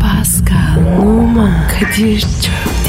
Pascal, Oman, Kadir çok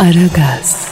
Aragaz,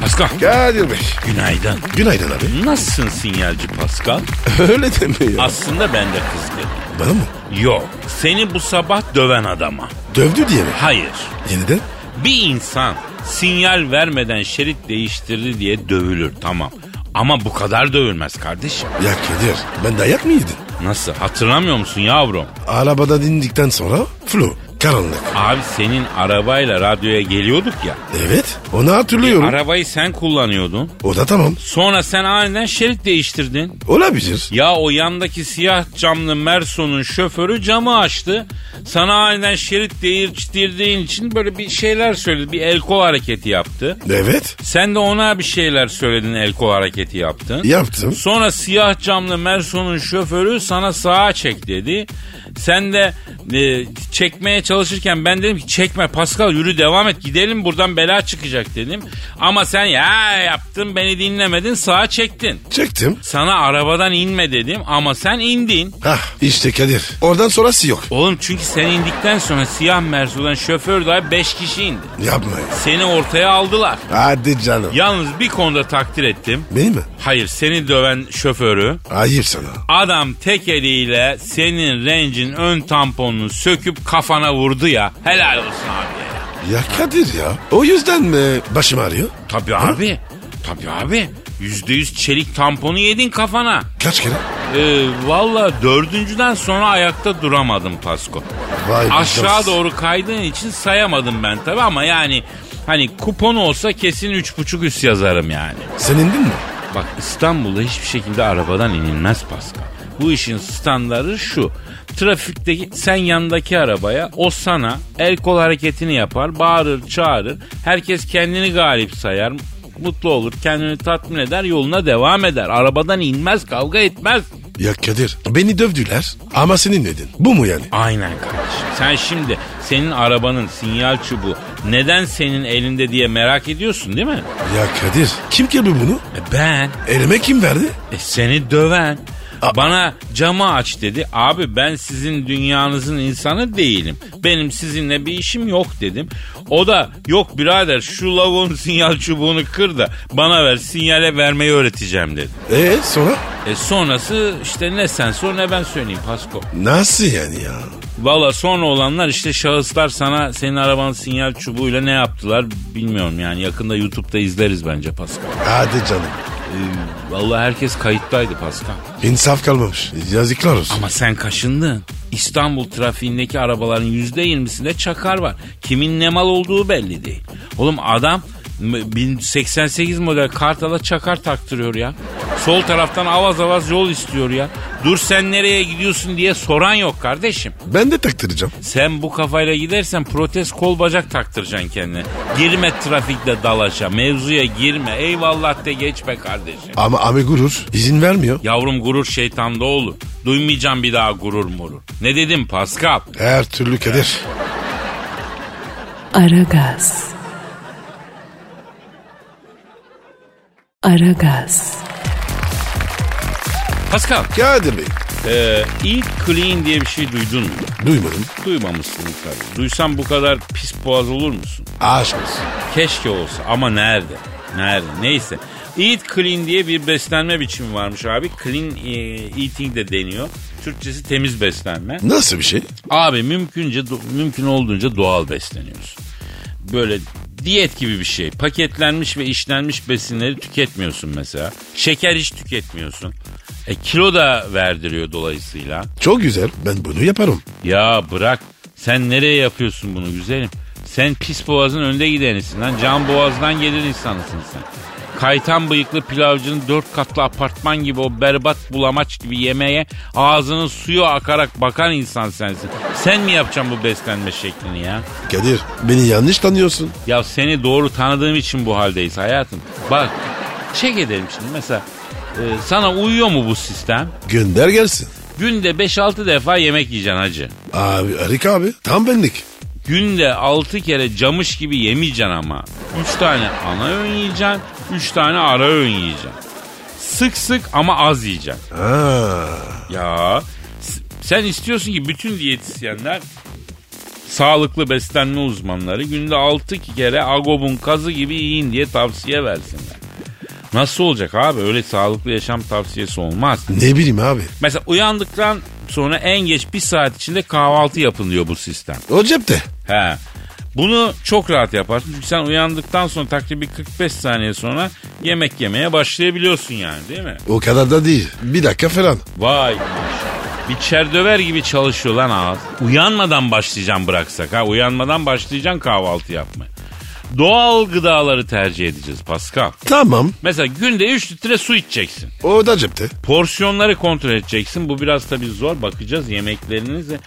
Pascal. Kadir Bey. Günaydın. Günaydın abi. Nasılsın sinyalci Pascal? Öyle deme ya. Aslında ben de kızgınım. Bana mı? Yok. Seni bu sabah döven adama. Dövdü diye mi? Hayır. Yeniden? Bir insan sinyal vermeden şerit değiştirdi diye dövülür tamam. Ama bu kadar dövülmez kardeşim. Ya Kadir ben dayak mı yedim? Nasıl? Hatırlamıyor musun yavrum? Arabada dindikten sonra flu. Karanlık. Abi senin arabayla radyoya geliyorduk ya. Evet onu hatırlıyorum. Arabayı sen kullanıyordun. O da tamam. Sonra sen aniden şerit değiştirdin. Olabilir. Ya o yandaki siyah camlı Merson'un şoförü camı açtı. Sana aniden şerit değiştirdiğin için böyle bir şeyler söyledi. Bir el kol hareketi yaptı. Evet Sen de ona bir şeyler söyledin el kol hareketi yaptın. yaptım. Sonra siyah camlı Merson'un şoförü sana sağa çek dedi. Sen de e, çekmeye çalışırken ben dedim ki çekme Pascal yürü devam et gidelim buradan bela çıkacak dedim. Ama sen ya yaptın beni dinlemedin sağa çektin. Çektim. Sana arabadan inme dedim ama sen indin. Hah Ah, işte Kadir. Oradan sonrası yok. Oğlum çünkü sen indikten sonra siyah Merson'dan şoför dahi 5 kişi indi. Yapma ya. Seni ortaya aldılar. Hadi canım. Yalnız bir konuda takdir ettim. Beni mi? Hayır seni döven şoförü Ayıp sana. Adam tek eliyle senin rencin ön tamponunu söküp kafana vurdu ya. Helal olsun abi. Ya Kadir ya. O yüzden mi başım ağrıyor? Tabii abi. Tabii abi. Yüzde yüz çelik tamponu yedin kafana. Kaç kere? Ee, Valla dördüncüden sonra ayakta duramadım Pasko. Vay be, Aşağı cansız. doğru kaydığın için sayamadım ben tabii ama yani... Hani kupon olsa kesin üç buçuk üst yazarım yani. Sen indin mi? Bak İstanbul'da hiçbir şekilde arabadan inilmez Pascal. Bu işin standarı şu. Trafikteki sen yandaki arabaya o sana el kol hareketini yapar, bağırır, çağırır. Herkes kendini galip sayar, mutlu olur, kendini tatmin eder, yoluna devam eder. Arabadan inmez, kavga etmez. Ya Kadir beni dövdüler ama sen inledin. Bu mu yani? Aynen kardeşim. Sen şimdi senin arabanın sinyal çubuğu neden senin elinde diye merak ediyorsun değil mi? Ya Kadir kim kirli bunu? E ben Elime kim verdi? E seni döven. A- Bana camı aç dedi. Abi ben sizin dünyanızın insanı değilim. Benim sizinle bir işim yok dedim. O da yok birader şu lavuğun sinyal çubuğunu kır da bana ver sinyale vermeyi öğreteceğim dedi. E sonra? E sonrası işte ne sen sor ne ben söyleyeyim Pasko. Nasıl yani ya? Valla sonra olanlar işte şahıslar sana senin arabanın sinyal çubuğuyla ne yaptılar bilmiyorum yani. Yakında YouTube'da izleriz bence Pasko. Hadi canım. Valla herkes kayıttaydı Pasko. İnsaf kalmamış. Yazıklar olsun. Ama sen kaşındın. İstanbul trafiğindeki arabaların yüzde yirmisinde çakar var. Kimin ne mal olduğu belli değil. Oğlum adam m- 1088 model Kartal'a çakar taktırıyor ya. Sol taraftan avaz avaz yol istiyor ya. Dur sen nereye gidiyorsun diye soran yok kardeşim. Ben de taktıracağım. Sen bu kafayla gidersen protez kol bacak taktıracaksın kendine. Girme trafikte dalaşa, mevzuya girme. Eyvallah de geç be kardeşim. Ama abi gurur izin vermiyor. Yavrum gurur şeytanda olur. Duymayacağım bir daha gurur murur. Ne dedim Pascal? Her türlü Kadir. Aragaz. Aragaz, Pascal, Kadir Bey. e, ilk clean diye bir şey duydun mu? Duymadım. Duymamışsın tabii. Duysan bu kadar pis boğaz olur musun? Aşk olsun. Keşke olsa ama nerede? Nerede? Neyse. Eat clean diye bir beslenme biçimi varmış abi. Clean e, eating de deniyor. Türkçesi temiz beslenme. Nasıl bir şey? Abi mümkünce mümkün olduğunca doğal besleniyoruz. Böyle diyet gibi bir şey. Paketlenmiş ve işlenmiş besinleri tüketmiyorsun mesela. Şeker hiç tüketmiyorsun. E kilo da verdiriyor dolayısıyla. Çok güzel. Ben bunu yaparım. Ya bırak. Sen nereye yapıyorsun bunu güzelim? Sen pis boğazın önde gidenisin lan. Can boğazdan gelir insanısın sen. Kaytan bıyıklı pilavcının dört katlı apartman gibi o berbat bulamaç gibi yemeğe ağzının suyu akarak bakan insan sensin. Sen mi yapacaksın bu beslenme şeklini ya? Kadir beni yanlış tanıyorsun. Ya seni doğru tanıdığım için bu haldeyiz hayatım. Bak çek edelim şimdi mesela e, sana uyuyor mu bu sistem? Gönder gelsin. Günde 5-6 defa yemek yiyeceksin hacı. Abi Harika abi tam benlik. Günde 6 kere camış gibi yemeyeceksin ama. 3 tane ana öğün yiyeceksin, 3 tane ara öğün yiyeceksin. Sık sık ama az yiyeceksin. Ha. Ya s- sen istiyorsun ki bütün diyetisyenler sağlıklı beslenme uzmanları günde 6 kere agobun kazı gibi yiyin diye tavsiye versinler. Nasıl olacak abi? Öyle sağlıklı yaşam tavsiyesi olmaz. Ne bileyim abi. Mesela uyandıktan sonra en geç bir saat içinde kahvaltı yapın diyor bu sistem. O cepte. He. Bunu çok rahat yaparsın. Çünkü sen uyandıktan sonra takribi 45 saniye sonra yemek yemeye başlayabiliyorsun yani değil mi? O kadar da değil. Bir dakika falan. Vay bir çerdöver gibi çalışıyor lan ağız. Uyanmadan başlayacağım bıraksak ha. Uyanmadan başlayacaksın kahvaltı yapmaya. Doğal gıdaları tercih edeceğiz Pascal. Tamam. Mesela günde 3 litre su içeceksin. O da cepte. Porsiyonları kontrol edeceksin. Bu biraz tabii zor. Bakacağız yemeklerinizi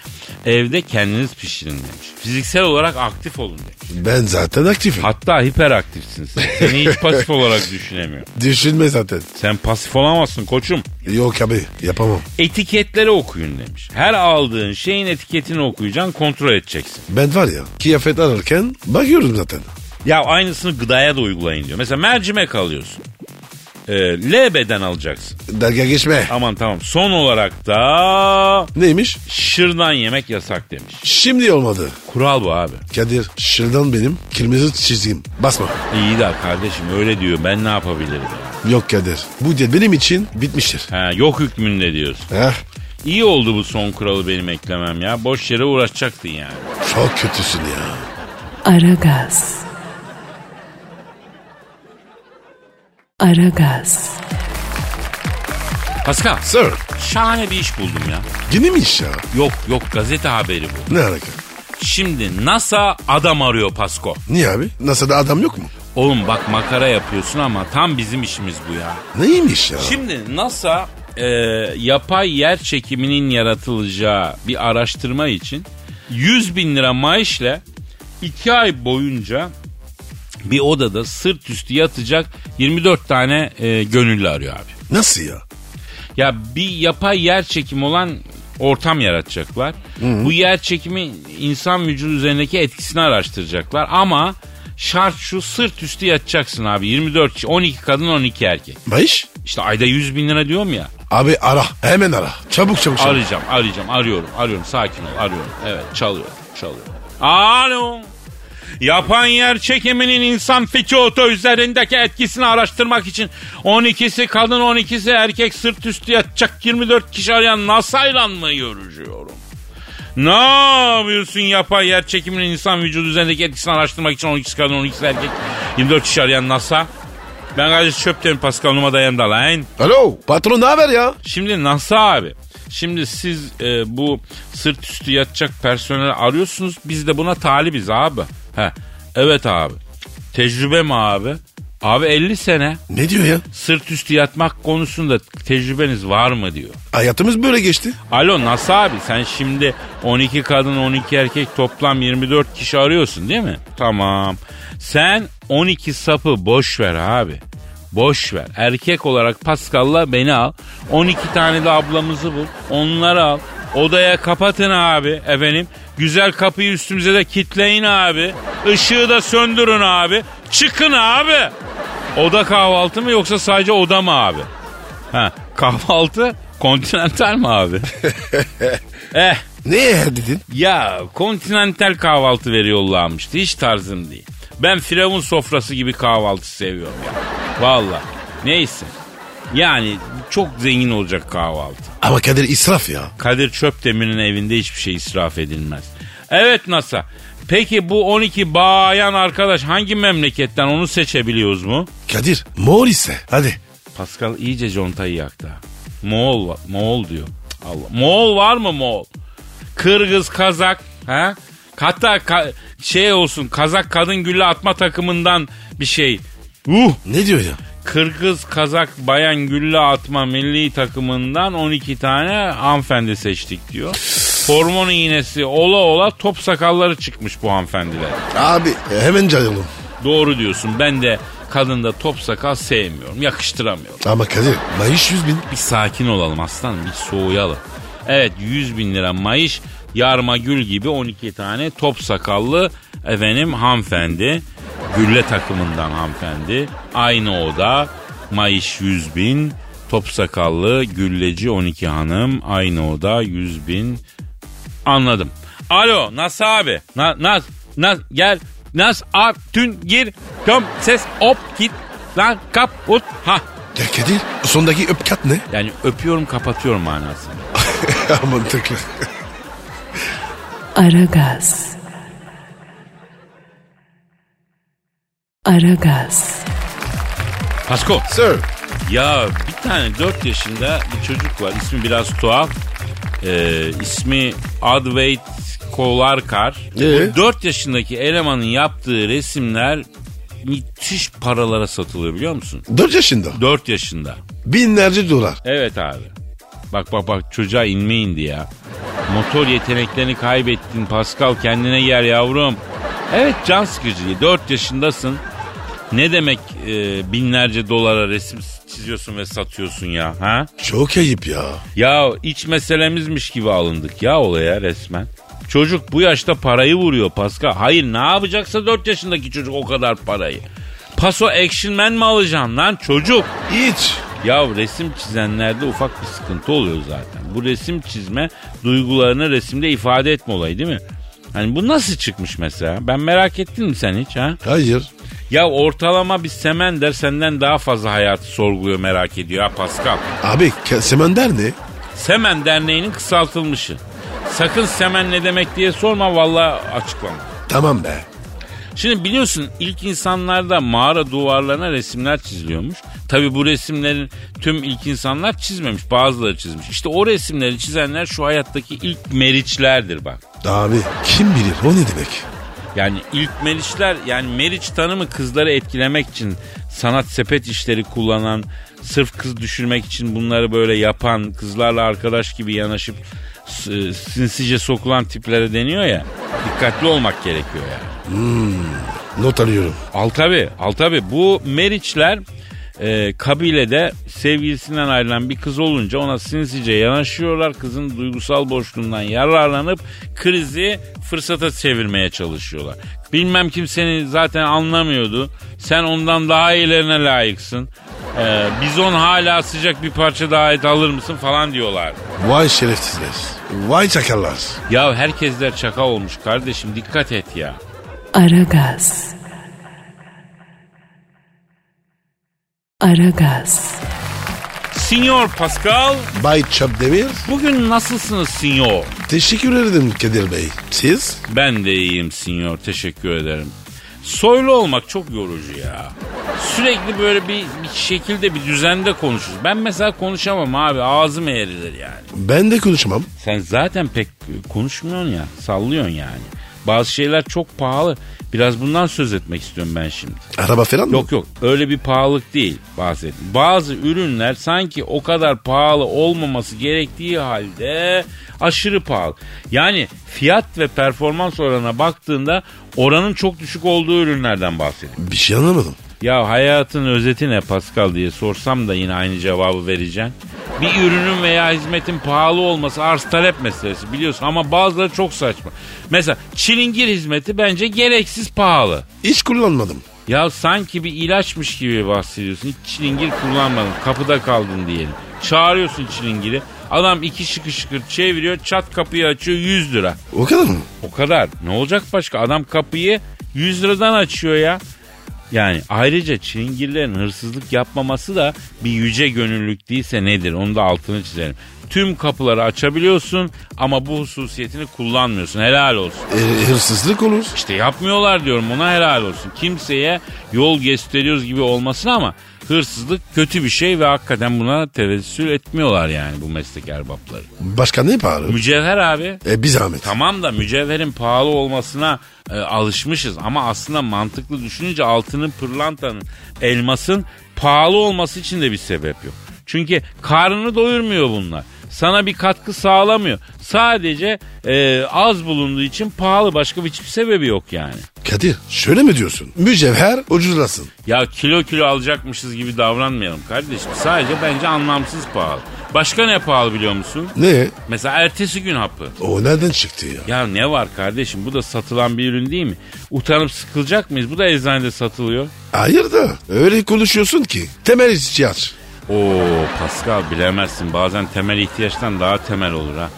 evde kendiniz pişirin demiş. Fiziksel olarak aktif olun demiş. Ben zaten aktifim. Hatta hiperaktifsin sen. Seni hiç pasif olarak düşünemiyorum. Düşünme zaten. Sen pasif olamazsın koçum. Yok abi yapamam. Etiketleri okuyun demiş. Her aldığın şeyin etiketini okuyacaksın, kontrol edeceksin. Ben var ya kıyafet alırken bakıyorum zaten. Ya aynısını gıdaya da uygulayın diyor. Mesela mercimek alıyorsun. Ee, L beden alacaksın. Dalga geçme. Aman tamam. Son olarak da Neymiş? şırdan yemek yasak demiş. Şimdi olmadı. Kural bu abi. Kadir şırdan benim kırmızı çizgim. Basma. İyi de kardeşim öyle diyor. Ben ne yapabilirim? Yok Kadir. Bu diyet benim için bitmiştir. Ha, yok hükmünde diyorsun. Heh, İyi oldu bu son kuralı benim eklemem ya. Boş yere uğraşacaktın yani. çok kötüsün ya. Aragaz. Aragaz. Pascal Sir. şahane bir iş buldum ya. Yeni mi iş ya? Yok yok gazete haberi bu. Ne alaka? Şimdi NASA adam arıyor Pasko. Niye abi? NASA'da adam yok mu? Oğlum bak makara yapıyorsun ama tam bizim işimiz bu ya. Neymiş ya? Şimdi NASA e, yapay yer çekiminin yaratılacağı bir araştırma için 100 bin lira maaşla 2 ay boyunca bir odada sırt üstü yatacak 24 tane e, gönüllü arıyor abi. Nasıl ya? Ya bir yapay yer çekimi olan ortam yaratacaklar. Bu yer çekimi insan vücudu üzerindeki etkisini araştıracaklar ama şart şu sırt üstü yatacaksın abi 24 kişi 12 kadın 12 erkek. Baş? İşte ayda 100 bin lira diyorum ya. Abi ara. Hemen ara. Çabuk çabuk çabuk. Arayacağım arayacağım arıyorum arıyorum sakin ol arıyorum. Evet çalıyor çalıyor. Alo. Yapan yer çekiminin insan fiçoto üzerindeki etkisini araştırmak için 12'si kadın 12'si erkek sırt üstü yatacak 24 kişi arayan NASA'yla mı görüşüyorum? Ne yapıyorsun yapay yer çekiminin insan vücudu üzerindeki etkisini araştırmak için 12'si kadın 12'si erkek 24 kişi arayan NASA? Ben kardeş çöpteyim Pascal Numa dayım da lan. Alo. Patron ne haber ya? Şimdi NASA abi. Şimdi siz e, bu sırt üstü yatacak personeli arıyorsunuz. Biz de buna talibiz abi. He. Evet abi. Tecrübe mi abi? Abi 50 sene Ne diyor ya? sırt üstü yatmak konusunda tecrübeniz var mı diyor. Hayatımız böyle geçti. Alo NASA abi sen şimdi 12 kadın 12 erkek toplam 24 kişi arıyorsun değil mi? Tamam. Sen 12 sapı boş ver abi. Boş ver. Erkek olarak Pascal'la beni al. 12 tane de ablamızı bul. Onları al. Odaya kapatın abi efendim. Güzel kapıyı üstümüze de kitleyin abi. Işığı da söndürün abi. Çıkın abi. Oda kahvaltı mı yoksa sadece oda mı abi? Ha, kahvaltı kontinental mi abi? eh Ne dedin? ya kontinental kahvaltı veriyorlarmıştı hiç tarzım değil. Ben firavun sofrası gibi kahvaltı seviyorum ya. Valla neyse. Yani çok zengin olacak kahvaltı. Ama Kadir israf ya. Kadir Çöpdemir'in evinde hiçbir şey israf edilmez. Evet NASA. Peki bu 12 bayan arkadaş hangi memleketten onu seçebiliyoruz mu? Kadir mor ise. Hadi. Pascal iyice contayı yaktı. ha. Moğol var. Moğol diyor. Cık, Allah. Moğol var mı Moğol? Kırgız, Kazak. Ha? Hatta ka- şey olsun Kazak kadın gülle atma takımından bir şey. Uh! Ne diyor ya? Kırgız, Kazak, Bayan Gülle Atma milli takımından 12 tane hanımefendi seçtik diyor. Hormon iğnesi ola ola top sakalları çıkmış bu hanımefendiler. Abi e, hemen canım. Doğru diyorsun ben de kadında top sakal sevmiyorum yakıştıramıyorum. Ama Kadir Mayış 100 bin. Bir sakin olalım aslanım bir soğuyalım. Evet 100 bin lira mayış yarma gül gibi 12 tane top sakallı efendim hanımefendi. Gülle takımından hanımefendi. Aynı oda mayış 100 bin. Top sakallı gülleci 12 hanım. Aynı oda 100 bin. Anladım. Alo Nas abi. Na, nas, Nas gel. Nas a tün gir. Göm ses op git. Lan kap ut. Ha. Ya Kadir sondaki öpkat ne? Yani öpüyorum kapatıyorum manasını. Mantıklı. Aragaz. Aragaz. Pasko. Sir. Ya bir tane 4 yaşında bir çocuk var. İsmi biraz tuhaf. Ee, ismi Advait Kolarkar. Ee? Bu 4 yaşındaki elemanın yaptığı resimler müthiş paralara satılıyor biliyor musun? 4 yaşında. 4 yaşında. Binlerce dolar. Evet abi. Bak bak bak çocuğa inme indi ya. Motor yeteneklerini kaybettin Pascal kendine gel yavrum. Evet can sıkıcı. 4 yaşındasın. Ne demek e, binlerce dolara resim çiziyorsun ve satıyorsun ya ha? Çok ayıp ya. Ya iç meselemizmiş gibi alındık ya olaya resmen. Çocuk bu yaşta parayı vuruyor Pascal. Hayır ne yapacaksa 4 yaşındaki çocuk o kadar parayı. Paso Action Man mi alacaksın lan çocuk? Hiç. Ya resim çizenlerde ufak bir sıkıntı oluyor zaten. Bu resim çizme duygularını resimde ifade etme olayı değil mi? Hani bu nasıl çıkmış mesela? Ben merak ettin mi sen hiç ha? Hayır. Ya ortalama bir semender senden daha fazla hayatı sorguluyor merak ediyor ha Pascal. Abi Ke- Semender ne? Semen Derneği'nin kısaltılmışı. Sakın semen ne demek diye sorma vallahi açıklama. Tamam be. Şimdi biliyorsun ilk insanlarda mağara duvarlarına resimler çiziliyormuş. Tabi bu resimlerin tüm ilk insanlar çizmemiş bazıları çizmiş. İşte o resimleri çizenler şu hayattaki ilk meriçlerdir bak. Abi kim bilir o ne demek? Yani ilk meriçler yani meriç tanımı kızları etkilemek için sanat sepet işleri kullanan sırf kız düşürmek için bunları böyle yapan kızlarla arkadaş gibi yanaşıp s- sinsice sokulan tiplere deniyor ya dikkatli olmak gerekiyor yani. Not alıyorum. Al tabi al tabi bu Meriçler e, kabilede sevgilisinden ayrılan bir kız olunca ona sinsice yanaşıyorlar. Kızın duygusal boşluğundan yararlanıp krizi fırsata çevirmeye çalışıyorlar. Bilmem kim seni zaten anlamıyordu. Sen ondan daha iyilerine layıksın. E, bizon hala sıcak bir parça daha et alır mısın falan diyorlar. Vay şerefsizler. Vay çakallar. Ya herkesler çaka olmuş kardeşim dikkat et ya. Aragaz. Aragaz. Sinyor Pascal Bay Çapdemir. bugün nasılsınız sinyor? Teşekkür ederim Kadir Bey. Siz? Ben de iyiyim sinyor teşekkür ederim. Soylu olmak çok yorucu ya. Sürekli böyle bir, bir şekilde bir düzende konuşuruz. Ben mesela konuşamam abi ağzım eğrilir yani. Ben de konuşmam. Sen zaten pek konuşmuyorsun ya sallıyorsun yani. Bazı şeyler çok pahalı. Biraz bundan söz etmek istiyorum ben şimdi. Araba falan mı? Yok yok öyle bir pahalılık değil bahsettim. Bazı ürünler sanki o kadar pahalı olmaması gerektiği halde aşırı pahalı. Yani fiyat ve performans oranına baktığında oranın çok düşük olduğu ürünlerden bahsediyorum. Bir şey anlamadım. Ya hayatın özeti ne Pascal diye sorsam da yine aynı cevabı vereceğim. Bir ürünün veya hizmetin pahalı olması arz talep meselesi biliyorsun ama bazıları çok saçma. Mesela çilingir hizmeti bence gereksiz pahalı. Hiç kullanmadım. Ya sanki bir ilaçmış gibi bahsediyorsun. Hiç çilingir kullanmadın. Kapıda kaldın diyelim. Çağırıyorsun çilingiri. Adam iki şıkır şıkır çeviriyor. Çat kapıyı açıyor 100 lira. O kadar mı? O kadar. Ne olacak başka? Adam kapıyı 100 liradan açıyor ya. Yani ayrıca çilingirlerin hırsızlık yapmaması da bir yüce gönüllülük değilse nedir? Onu da altını çizelim. Tüm kapıları açabiliyorsun ama bu hususiyetini kullanmıyorsun. Helal olsun. E, hırsızlık olur. İşte yapmıyorlar diyorum ona helal olsun. Kimseye yol gösteriyoruz gibi olmasın ama hırsızlık kötü bir şey ve hakikaten buna tevessül etmiyorlar yani bu meslek erbapları. Başka ne pahalı? Mücevher abi. E, bir zahmet. Tamam da mücevherin pahalı olmasına e, alışmışız ama aslında mantıklı düşününce altının, pırlantanın, elmasın Pahalı olması için de bir sebep yok. Çünkü karnını doyurmuyor bunlar. Sana bir katkı sağlamıyor. Sadece e, az bulunduğu için pahalı başka bir hiçbir sebebi yok yani. Kadir şöyle mi diyorsun? Mücevher ucuzlasın. Ya kilo kilo alacakmışız gibi davranmayalım kardeşim. Sadece bence anlamsız pahalı. Başka ne pahalı biliyor musun? Ne? Mesela ertesi gün hapı. O nereden çıktı ya? Ya ne var kardeşim bu da satılan bir ürün değil mi? Utanıp sıkılacak mıyız? Bu da eczanede satılıyor. Hayır da öyle konuşuyorsun ki. Temel ihtiyaç. Oo Pascal bilemezsin bazen temel ihtiyaçtan daha temel olur ha.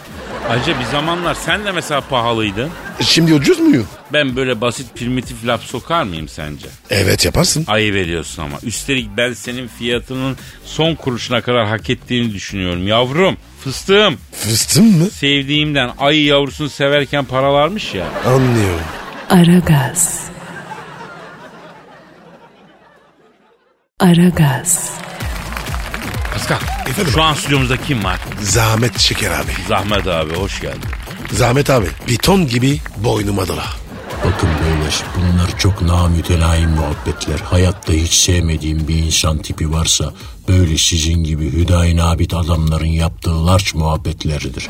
Ayrıca bir zamanlar sen de mesela pahalıydın. E Şimdi ucuz muyum? Ben böyle basit primitif laf sokar mıyım sence? Evet yaparsın. Ayıp ediyorsun ama. Üstelik ben senin fiyatının son kuruşuna kadar hak ettiğini düşünüyorum yavrum. Fıstığım Fıstın mı? sevdiğimden ayı yavrusunu severken paralarmış ya. Anlıyorum. Aragaz. Aragaz. Pascal Efendim? şu an stüdyomuzda kim var? Zahmet Şeker abi. Zahmet abi hoş geldin. Zahmet abi. Piton gibi boynuma dola. Bakın beyler bunlar çok namütelayim muhabbetler. Hayatta hiç sevmediğim bir insan tipi varsa böyle sizin gibi hüdayi nabit adamların yaptığı larç muhabbetleridir.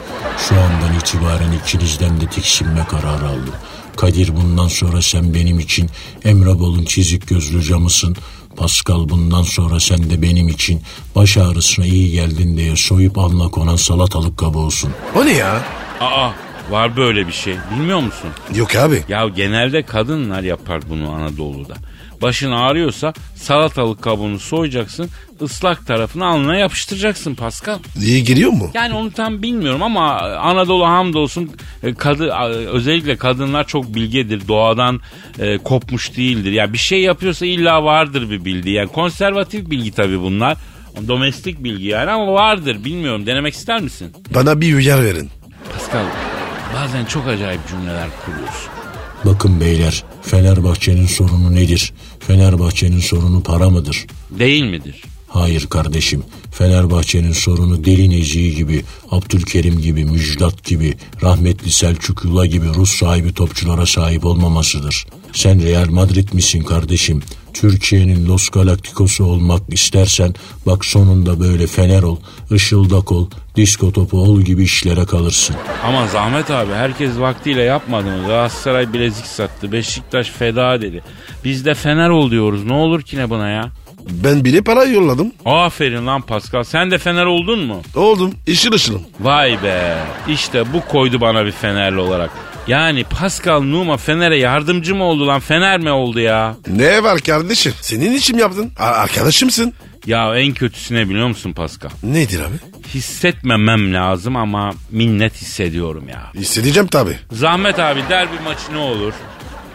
Şu andan itibaren ikinizden de tiksinme kararı aldım. Kadir bundan sonra sen benim için Emre Bol'un çizik gözlü camısın. Pascal bundan sonra sen de benim için baş ağrısına iyi geldin diye soyup alına konan salatalık kabuğusun. O ne ya? Aa var böyle bir şey bilmiyor musun? Yok abi. Ya genelde kadınlar yapar bunu Anadolu'da. Başın ağrıyorsa salatalık kabuğunu soyacaksın, ıslak tarafını alnına yapıştıracaksın Pascal. İyi giriyor mu? Yani onu tam bilmiyorum ama Anadolu hamdolsun e, kadı a- özellikle kadınlar çok bilgedir. Doğadan e, kopmuş değildir. Ya bir şey yapıyorsa illa vardır bir bildiği. Yani konservatif bilgi tabii bunlar. Domestik bilgi yani ama vardır bilmiyorum. Denemek ister misin? Bana bir uyar verin. Pascal bazen çok acayip cümleler kuruyorsun. Bakın beyler Fenerbahçe'nin sorunu nedir? Fenerbahçe'nin sorunu para mıdır? Değil midir? Hayır kardeşim. Fenerbahçe'nin sorunu Deli Necihi gibi, Abdülkerim gibi, Müjdat gibi, rahmetli Selçuk Yula gibi Rus sahibi topçulara sahip olmamasıdır. Sen Real Madrid misin kardeşim? Türkiye'nin Los Galacticos'u olmak istersen bak sonunda böyle fener ol, ışıldak ol, disko topu ol gibi işlere kalırsın. Ama Zahmet abi herkes vaktiyle yapmadı mı? Galatasaray bilezik sattı. Beşiktaş feda dedi. Biz de Fener ol diyoruz. Ne olur ki ne buna ya? Ben bile para yolladım. Aferin lan Pascal. Sen de Fener oldun mu? Oldum. Işıl ışılım. Vay be. İşte bu koydu bana bir Fenerli olarak. Yani Pascal Numa Fener'e yardımcı mı oldu lan? Fener mi oldu ya? Ne var kardeşim? Senin için mi yaptın. A- arkadaşımsın. Ya en kötüsüne biliyor musun Pascal? Nedir abi? Hissetmemem lazım ama minnet hissediyorum ya. Hissedeceğim tabii. Zahmet abi derbi maçı ne olur?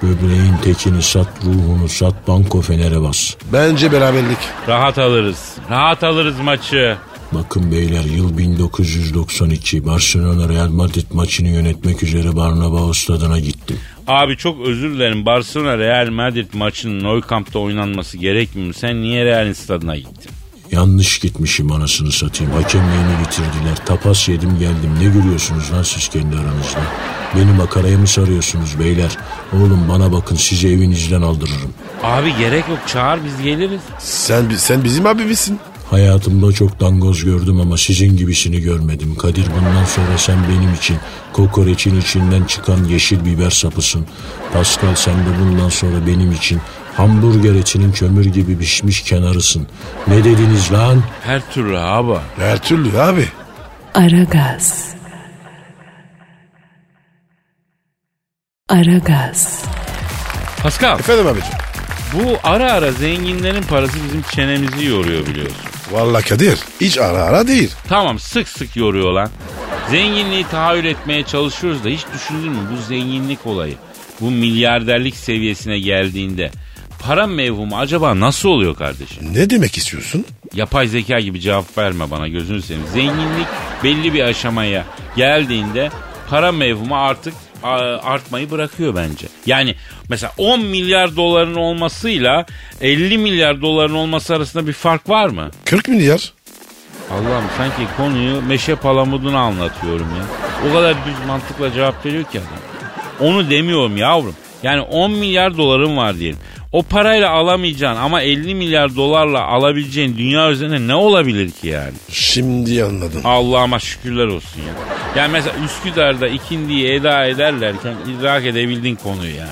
Böbreğin tekini sat, ruhunu sat, banko fenere bas. Bence beraberlik. Rahat alırız. Rahat alırız maçı. Bakın beyler yıl 1992 Barcelona Real Madrid maçını yönetmek üzere Barnabas stadına gittim. Abi çok özür dilerim. Barcelona Real Madrid maçının Nou Camp'ta oynanması gerekmiyor mu? Sen niye Real'in stadına gittin? Yanlış gitmişim anasını satayım. Hakemliğini bitirdiler. Tapas yedim geldim. Ne gülüyorsunuz lan siz kendi aranızda? Beni makaraya mı sarıyorsunuz beyler? Oğlum bana bakın sizi evinizden aldırırım. Abi gerek yok. Çağır biz geliriz. Sen bi- sen bizim abimizsin. Hayatımda çok dangoz gördüm ama sizin gibisini görmedim. Kadir bundan sonra sen benim için kokoreçin içinden çıkan yeşil biber sapısın. Pascal sen de bundan sonra benim için hamburger etinin kömür gibi pişmiş kenarısın. Ne dediniz lan? Her türlü abi. Her türlü abi. Aragaz. Aragaz. Pascal Efendim abicim. bu ara ara zenginlerin parası bizim çenemizi yoruyor biliyorsun. Vallahi Kadir hiç ara ara değil. Tamam sık sık yoruyor lan. Zenginliği tahayyül etmeye çalışıyoruz da hiç düşündün mü bu zenginlik olayı? Bu milyarderlik seviyesine geldiğinde para mevhumu acaba nasıl oluyor kardeşim? Ne demek istiyorsun? Yapay zeka gibi cevap verme bana gözünü seveyim. Zenginlik belli bir aşamaya geldiğinde para mevhumu artık a, artmayı bırakıyor bence. Yani mesela 10 milyar doların olmasıyla 50 milyar doların olması arasında bir fark var mı? 40 milyar. Allah'ım sanki konuyu meşe palamuduna anlatıyorum ya. O kadar düz mantıkla cevap veriyor ki adam. Onu demiyorum yavrum. Yani 10 milyar doların var diyelim. O parayla alamayacağın ama 50 milyar dolarla alabileceğin dünya üzerinde ne olabilir ki yani? Şimdi anladım. Allah'ıma şükürler olsun ya. Yani mesela Üsküdar'da ikindiyi eda ederlerken idrak edebildin konuyu yani.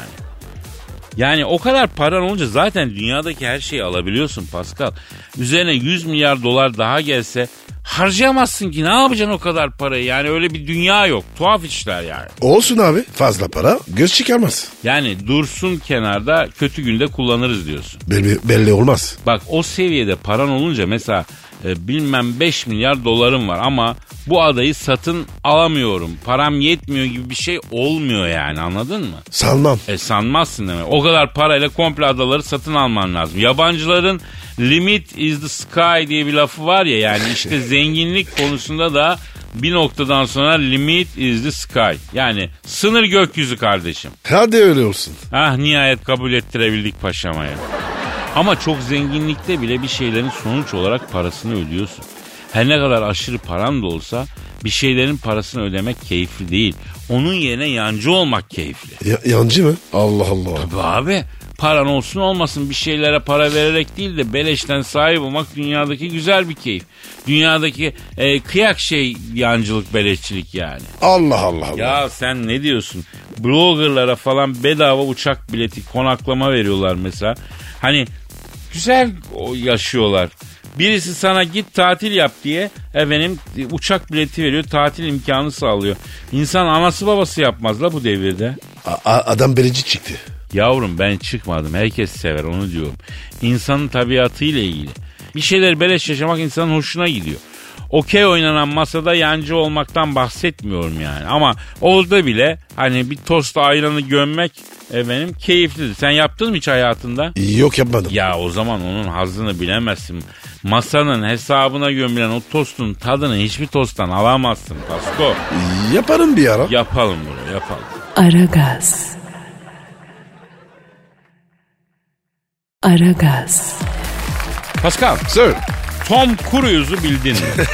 Yani o kadar paran olunca zaten dünyadaki her şeyi alabiliyorsun Pascal. Üzerine 100 milyar dolar daha gelse harcayamazsın ki ne yapacaksın o kadar parayı yani öyle bir dünya yok tuhaf işler yani. Olsun abi fazla para göz çıkarmaz. Yani dursun kenarda kötü günde kullanırız diyorsun. Belli, belli olmaz. Bak o seviyede paran olunca mesela e, bilmem 5 milyar dolarım var ama bu adayı satın alamıyorum. Param yetmiyor gibi bir şey olmuyor yani anladın mı? Salmam. E sanmazsın demek. O kadar parayla komple adaları satın alman lazım. Yabancıların limit is the sky diye bir lafı var ya yani işte zenginlik konusunda da bir noktadan sonra limit is the sky. Yani sınır gökyüzü kardeşim. Hadi öyle olsun. Ah nihayet kabul ettirebildik paşamaya. Ama çok zenginlikte bile bir şeylerin sonuç olarak parasını ödüyorsun. Her ne kadar aşırı paran da olsa bir şeylerin parasını ödemek keyifli değil. Onun yerine yancı olmak keyifli. Ya- yancı mı? Allah Allah. Tabii abi paran olsun olmasın bir şeylere para vererek değil de beleşten sahip olmak dünyadaki güzel bir keyif. Dünyadaki e, kıyak şey yancılık beleşçilik yani. Allah Allah. Allah. Ya sen ne diyorsun? Bloggerlara falan bedava uçak bileti konaklama veriyorlar mesela. Hani güzel o- yaşıyorlar. Birisi sana git tatil yap diye efendim e, uçak bileti veriyor tatil imkanı sağlıyor. İnsan anası babası yapmaz la bu devirde. A- a- adam belici çıktı. Yavrum ben çıkmadım. Herkes sever onu diyorum. İnsanın tabiatıyla ilgili. Bir şeyler beleş yaşamak insanın hoşuna gidiyor. Okey oynanan masada yancı olmaktan bahsetmiyorum yani. Ama orada bile hani bir tosta ayranı gömmek efendim keyiflidir. Sen yaptın mı hiç hayatında? Yok yapmadım. Ya o zaman onun hazzını bilemezsin. Masanın hesabına gömülen o tostun tadını hiçbir tosttan alamazsın Pasko. Yaparım bir ara. Yapalım bunu yapalım. Aragaz. Aragaz. Pascal Sir. Tom Cruise'u bildin mi?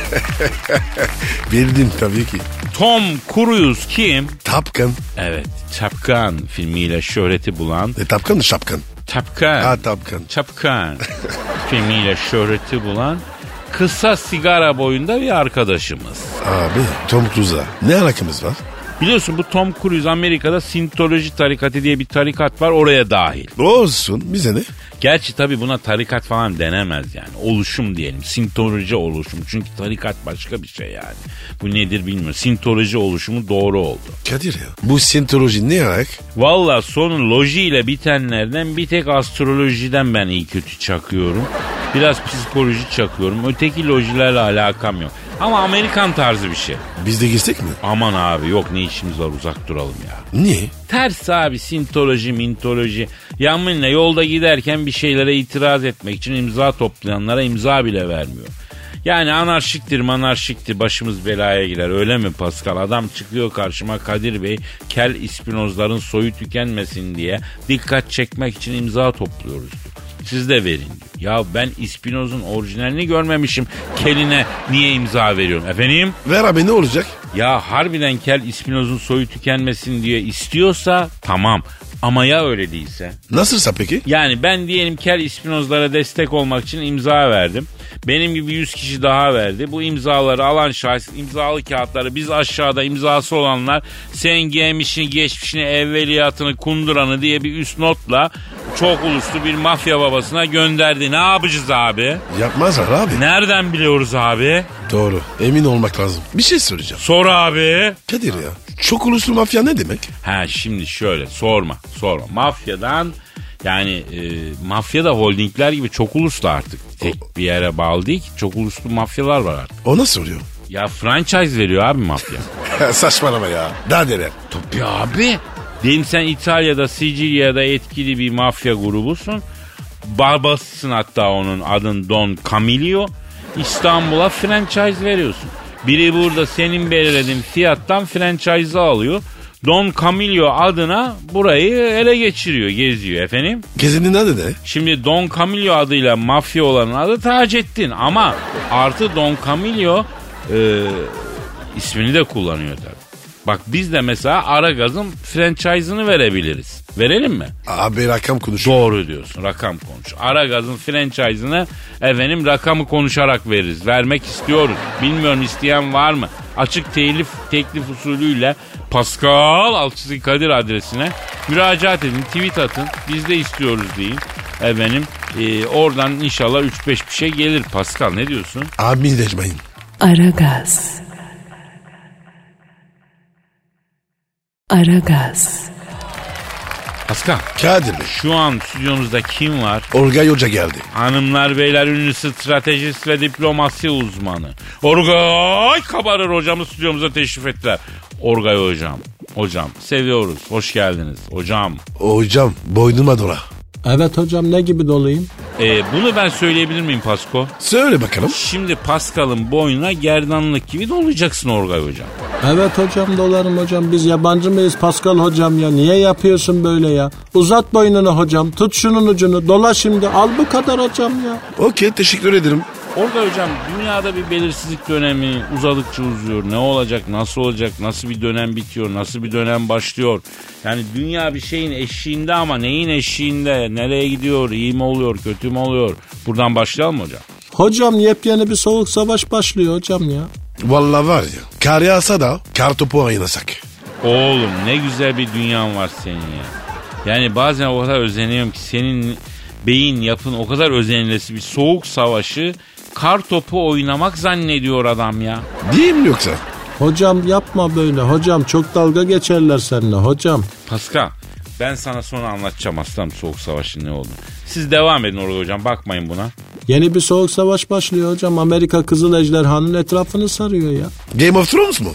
Bildim tabii ki. Tom Cruise kim? Tapkan. Evet, Tapkan filmiyle şöhreti bulan E, tapkan mı şapkan? Tapkan. Ha tapkan. Tapkan filmiyle şöhreti bulan kısa sigara boyunda bir arkadaşımız. Abi Tom Cruise'a ne alakamız var? Biliyorsun bu Tom Cruise Amerika'da Sintoloji tarikatı diye bir tarikat var oraya dahil. Olsun bize ne? Gerçi tabii buna tarikat falan denemez yani. Oluşum diyelim. Sintoloji oluşumu. Çünkü tarikat başka bir şey yani. Bu nedir bilmiyorum. Sintoloji oluşumu doğru oldu. Kadir ya bu sintoloji ne alak? Valla sonu loji ile bitenlerden bir tek astrolojiden ben iyi kötü çakıyorum. Biraz psikoloji çakıyorum. Öteki lojilerle alakam yok. Ama Amerikan tarzı bir şey. Biz de girsek mi? Aman abi yok ne işimiz var uzak duralım ya. Niye? Ters abi sintoloji mintoloji. Yaminle yolda giderken bir şeylere itiraz etmek için imza toplayanlara imza bile vermiyor. Yani anarşiktir manarşiktir başımız belaya girer öyle mi Pascal? Adam çıkıyor karşıma Kadir Bey kel ispinozların soyu tükenmesin diye dikkat çekmek için imza topluyoruz diyor. Siz de verin diyor. Ya ben ispinozun orijinalini görmemişim. Keline niye imza veriyorum efendim? Ver abi ne olacak? Ya harbiden kel ispinozun soyu tükenmesin diye istiyorsa tamam. Ama ya öyle değilse? Nasılsa peki? Yani ben diyelim kel ispinozlara destek olmak için imza verdim. Benim gibi 100 kişi daha verdi. Bu imzaları alan şahıs imzalı kağıtları biz aşağıda imzası olanlar sen gelmişini geçmişini evveliyatını kunduranı diye bir üst notla çok uluslu bir mafya babasına gönderdi. Ne yapacağız abi? Yapmazlar abi. Nereden biliyoruz abi? Doğru. Emin olmak lazım. Bir şey söyleyeceğim. Sor abi. Kadir ya çok uluslu mafya ne demek? Ha şimdi şöyle sorma sorma. Mafyadan yani e, mafya da holdingler gibi çok uluslu artık. Tek bir yere bağlı değil ki. Çok uluslu mafyalar var artık. Ona soruyor. Ya franchise veriyor abi mafya. Saçmalama ya. Daha neler? Tabii abi. Diyelim sen İtalya'da Sicilya'da etkili bir mafya grubusun. Barbasısın hatta onun adın Don Camillo. İstanbul'a franchise veriyorsun. Biri burada senin belirlediğin fiyattan franchise'ı alıyor. Don Camillo adına burayı ele geçiriyor, geziyor efendim. Gezinin adı ne? Şimdi Don Camillo adıyla mafya olanın adı Taceddin ama artı Don Camillo e, ismini de kullanıyor tabii. Bak biz de mesela Aragaz'ın franchise'ını verebiliriz. Verelim mi? Abi rakam konuşuyor. Doğru diyorsun. Rakam konuş. Aragaz'ın franchise'ını efendim rakamı konuşarak veririz. Vermek istiyoruz. Bilmiyorum isteyen var mı? Açık telif teklif usulüyle Pascal Alçızı Kadir adresine müracaat edin, tweet atın. Biz de istiyoruz deyin. Efendim e, oradan inşallah 3-5 bir şey gelir Pascal ne diyorsun? Amin ecmain. Aragaz. Aragaz. Pascal Kadir Bey. şu an stüdyomuzda kim var? Orgay Hoca geldi. Hanımlar beyler ünlü stratejist ve diplomasi uzmanı. Orgay Kabarır hocamı stüdyomuza teşrif ettiler. Orgay hocam. Hocam seviyoruz. Hoş geldiniz hocam. Hocam boynuma dola. Evet hocam ne gibi dolayım? Ee, bunu ben söyleyebilir miyim Pasko? Söyle bakalım. Şimdi Pascal'ın boynuna gerdanlık gibi dolayacaksın Orgay hocam. Evet hocam dolarım hocam biz yabancı mıyız Pascal hocam ya niye yapıyorsun böyle ya? Uzat boynunu hocam tut şunun ucunu dola şimdi al bu kadar hocam ya. Okey teşekkür ederim. Orada hocam dünyada bir belirsizlik dönemi uzadıkça uzuyor. Ne olacak, nasıl olacak, nasıl bir dönem bitiyor, nasıl bir dönem başlıyor. Yani dünya bir şeyin eşiğinde ama neyin eşiğinde, nereye gidiyor, iyi mi oluyor, kötü mü oluyor? Buradan başlayalım mı hocam? Hocam yepyeni bir soğuk savaş başlıyor hocam ya. Vallahi var ya. Kar yağsa da kar topu oynasak. Oğlum ne güzel bir dünyan var senin ya. Yani bazen o kadar özeniyorum ki senin beyin yapın o kadar özenilesi bir soğuk savaşı kar topu oynamak zannediyor adam ya. Değil mi yoksa? Hocam yapma böyle hocam çok dalga geçerler seninle hocam. Pascal ben sana sonra anlatacağım aslanım Soğuk Savaş'ın ne olduğunu. Siz devam edin orada hocam bakmayın buna. Yeni bir soğuk savaş başlıyor hocam Amerika Kızıl Ejderhan'ın etrafını sarıyor ya. Game of Thrones mu?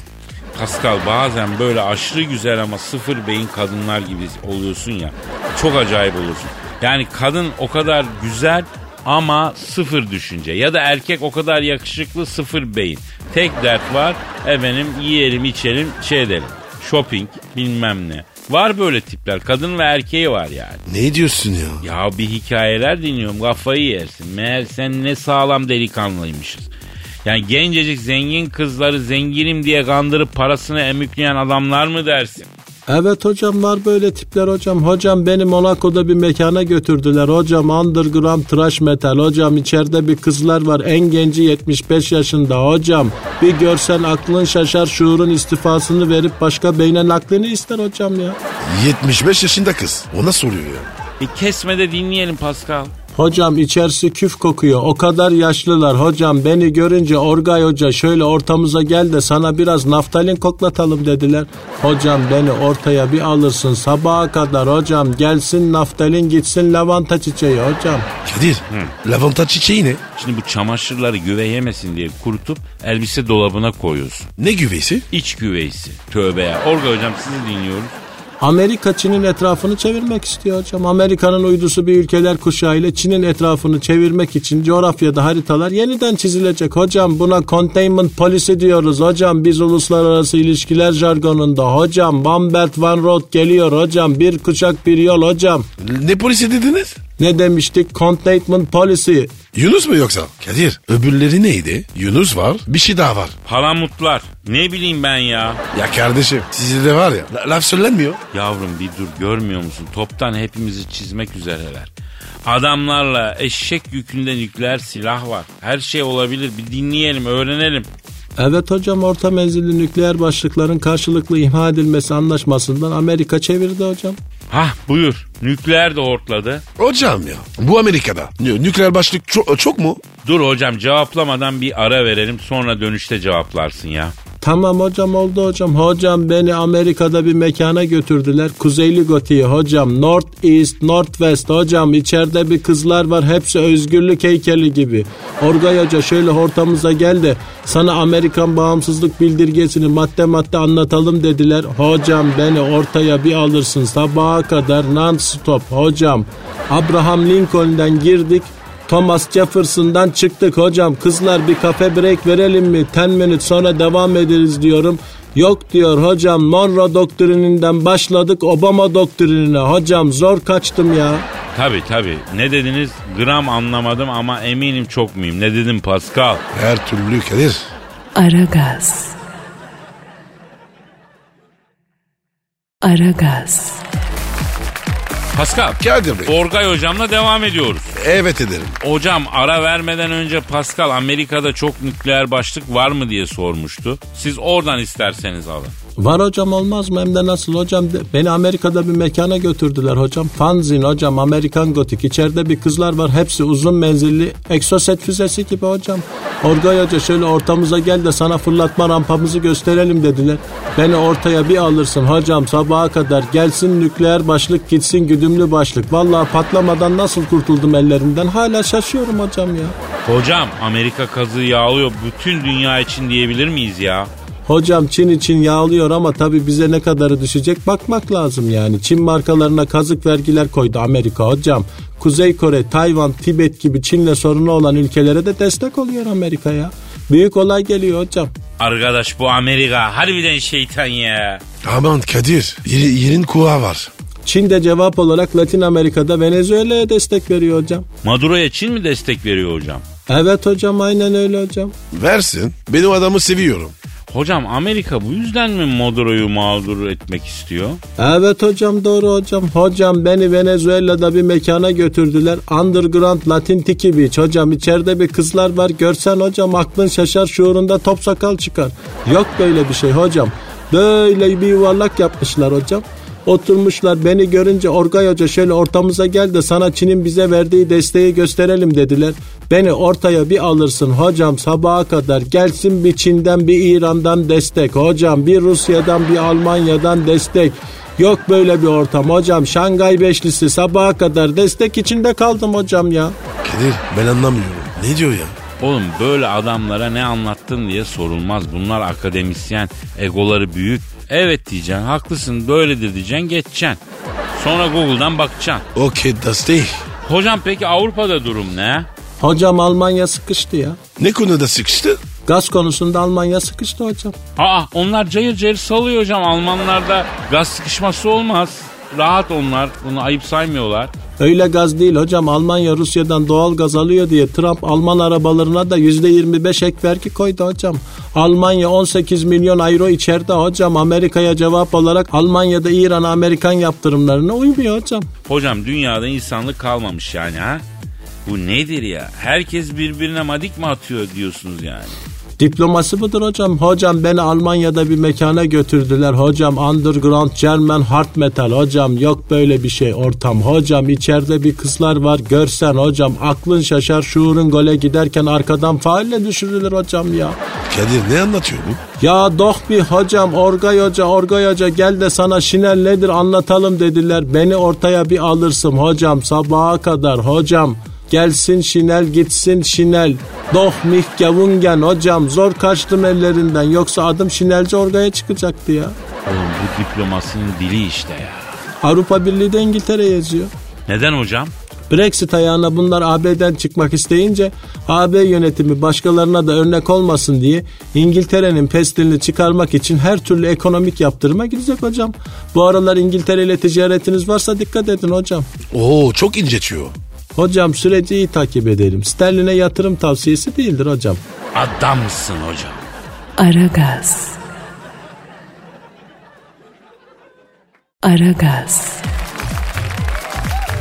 Pascal bazen böyle aşırı güzel ama sıfır beyin kadınlar gibi oluyorsun ya. Çok acayip olursun. Yani kadın o kadar güzel ama sıfır düşünce. Ya da erkek o kadar yakışıklı sıfır beyin. Tek dert var efendim yiyelim içelim şey edelim. Shopping bilmem ne. Var böyle tipler kadın ve erkeği var yani. Ne diyorsun ya? Ya bir hikayeler dinliyorum kafayı yersin. Meğer sen ne sağlam delikanlıymışız. Yani gencecik zengin kızları zenginim diye kandırıp parasını emükleyen adamlar mı dersin? Evet hocam var böyle tipler hocam. Hocam beni Monaco'da bir mekana götürdüler. Hocam underground trash metal. Hocam içeride bir kızlar var. En genci 75 yaşında hocam. Bir görsen aklın şaşar şuurun istifasını verip başka beyne naklini ister hocam ya. 75 yaşında kız. O nasıl oluyor ya? E kesme de dinleyelim Pascal. Hocam içerisi küf kokuyor. O kadar yaşlılar. Hocam beni görünce Orgay Hoca şöyle ortamıza gel de sana biraz naftalin koklatalım dediler. Hocam beni ortaya bir alırsın sabaha kadar hocam gelsin naftalin gitsin lavanta çiçeği hocam. Kadir. Lavanta çiçeği ne? Şimdi bu çamaşırları güve yemesin diye kurutup elbise dolabına koyuyorsun. Ne güveysi? İç güveysi. Tövbe ya. Orga hocam sizi dinliyoruz. Amerika Çin'in etrafını çevirmek istiyor hocam. Amerika'nın uydusu bir ülkeler kuşağı ile Çin'in etrafını çevirmek için coğrafyada haritalar yeniden çizilecek. Hocam buna containment policy diyoruz hocam. Biz uluslararası ilişkiler jargonunda hocam. One Belt One Road geliyor hocam. Bir kuşak bir yol hocam. Ne polisi dediniz? Ne demiştik? Containment policy. Yunus mu yoksa? Kadir. Öbürleri neydi? Yunus var. Bir şey daha var. Palamutlar. Ne bileyim ben ya. Ya kardeşim sizde de var ya la- laf söylenmiyor. Yavrum bir dur görmüyor musun? Toptan hepimizi çizmek üzereler. Adamlarla eşek yükünden nükleer silah var. Her şey olabilir. Bir dinleyelim, öğrenelim. Evet hocam orta menzilli nükleer başlıkların karşılıklı imha edilmesi anlaşmasından Amerika çevirdi hocam. Hah buyur. Nükleer de hortladı. Hocam ya bu Amerika'da nü- nükleer başlık ço- çok mu? Dur hocam cevaplamadan bir ara verelim sonra dönüşte cevaplarsın ya. Tamam hocam oldu hocam. Hocam beni Amerika'da bir mekana götürdüler. Kuzeyli Goti'yi hocam. North East, North West hocam. içeride bir kızlar var. Hepsi özgürlük heykeli gibi. Orgay Hoca şöyle ortamıza gel de sana Amerikan bağımsızlık bildirgesini madde madde anlatalım dediler. Hocam beni ortaya bir alırsın sabaha kadar non stop hocam. Abraham Lincoln'den girdik. Thomas Jefferson'dan çıktık hocam. Kızlar bir kafe break verelim mi? 10 minut sonra devam ederiz diyorum. Yok diyor hocam Monroe doktrininden başladık Obama doktrinine. Hocam zor kaçtım ya. Tabi tabi ne dediniz gram anlamadım ama eminim çok muyum. Ne dedim Pascal? Her türlü Kadir. Aragaz. Aragaz, Pascal. Kadir Bey. Orgay hocamla devam ediyoruz. Evet ederim. Hocam ara vermeden önce Pascal Amerika'da çok nükleer başlık var mı diye sormuştu. Siz oradan isterseniz alın. Var hocam olmaz mı? Hem de nasıl hocam? De- Beni Amerika'da bir mekana götürdüler hocam. Fanzin hocam, Amerikan gotik. İçeride bir kızlar var. Hepsi uzun menzilli egzoset füzesi gibi hocam. Orgay Hoca şöyle ortamıza gel de sana fırlatma rampamızı gösterelim dediler. Beni ortaya bir alırsın hocam sabaha kadar gelsin nükleer başlık gitsin güdümlü başlık. Vallahi patlamadan nasıl kurtuldum ellerinden hala şaşıyorum hocam ya. Hocam Amerika kazığı yağlıyor bütün dünya için diyebilir miyiz ya? Hocam Çin için yağlıyor ama tabii bize ne kadarı düşecek bakmak lazım yani. Çin markalarına kazık vergiler koydu Amerika hocam. Kuzey Kore, Tayvan, Tibet gibi Çin'le sorunu olan ülkelere de destek oluyor Amerika ya. Büyük olay geliyor hocam. Arkadaş bu Amerika harbiden şeytan ya. Aman Kadir. Yeri, yerin kuğa var. Çin de cevap olarak Latin Amerika'da Venezuela'ya destek veriyor hocam. Maduro'ya Çin mi destek veriyor hocam? Evet hocam aynen öyle hocam. Versin. Ben o adamı seviyorum. Hocam Amerika bu yüzden mi Maduro'yu mağdur etmek istiyor? Evet hocam doğru hocam. Hocam beni Venezuela'da bir mekana götürdüler. Underground Latin Tiki Beach hocam. içeride bir kızlar var. Görsen hocam aklın şaşar şuurunda top sakal çıkar. Yok böyle bir şey hocam. Böyle bir yuvarlak yapmışlar hocam. Oturmuşlar beni görünce Orgay Hoca şöyle ortamıza gel de sana Çin'in bize verdiği desteği gösterelim dediler. Beni ortaya bir alırsın hocam sabaha kadar gelsin bir Çin'den bir İran'dan destek hocam bir Rusya'dan bir Almanya'dan destek. Yok böyle bir ortam hocam Şangay Beşlisi sabaha kadar destek içinde kaldım hocam ya. Kadir ben anlamıyorum. Ne diyor ya? Oğlum böyle adamlara ne anlattın diye sorulmaz. Bunlar akademisyen, egoları büyük. Evet diyeceksin, haklısın, böyledir diyeceksin, geçeceksin. Sonra Google'dan bakacaksın. Okey das değil. Hocam peki Avrupa'da durum ne? Hocam Almanya sıkıştı ya. Ne konuda sıkıştı? Gaz konusunda Almanya sıkıştı hocam. Aa onlar cayır cayır salıyor hocam. Almanlarda gaz sıkışması olmaz. Rahat onlar, bunu ayıp saymıyorlar. Öyle gaz değil hocam Almanya Rusya'dan doğal gaz alıyor diye Trump Alman arabalarına da %25 ek vergi koydu hocam. Almanya 18 milyon euro içeride hocam Amerika'ya cevap olarak Almanya'da İran'a Amerikan yaptırımlarına uymuyor hocam. Hocam dünyada insanlık kalmamış yani ha? Bu nedir ya? Herkes birbirine madik mi atıyor diyorsunuz yani? Diploması budur hocam. Hocam beni Almanya'da bir mekana götürdüler. Hocam underground German hard metal. Hocam yok böyle bir şey ortam. Hocam içeride bir kızlar var. Görsen hocam aklın şaşar şuurun gole giderken arkadan faalle düşürülür hocam ya. Kadir ne anlatıyor bu? Ya doh bir hocam Orgay Hoca Orgay Hoca gel de sana şinel nedir anlatalım dediler. Beni ortaya bir alırsın hocam sabaha kadar hocam. Gelsin şinel gitsin şinel. Doh mih gavungen hocam zor kaçtım ellerinden yoksa adım şinelci orgaya çıkacaktı ya. Oğlum bu diplomasının dili işte ya. Avrupa Birliği'de İngiltere yazıyor. Neden hocam? Brexit ayağına bunlar AB'den çıkmak isteyince AB yönetimi başkalarına da örnek olmasın diye İngiltere'nin pestilini çıkarmak için her türlü ekonomik yaptırıma gidecek hocam. Bu aralar İngiltere ile ticaretiniz varsa dikkat edin hocam. Oo çok incetiyor. Hocam süreci iyi takip edelim. Sterline yatırım tavsiyesi değildir hocam. Adamsın hocam. Aragaz. Aragaz,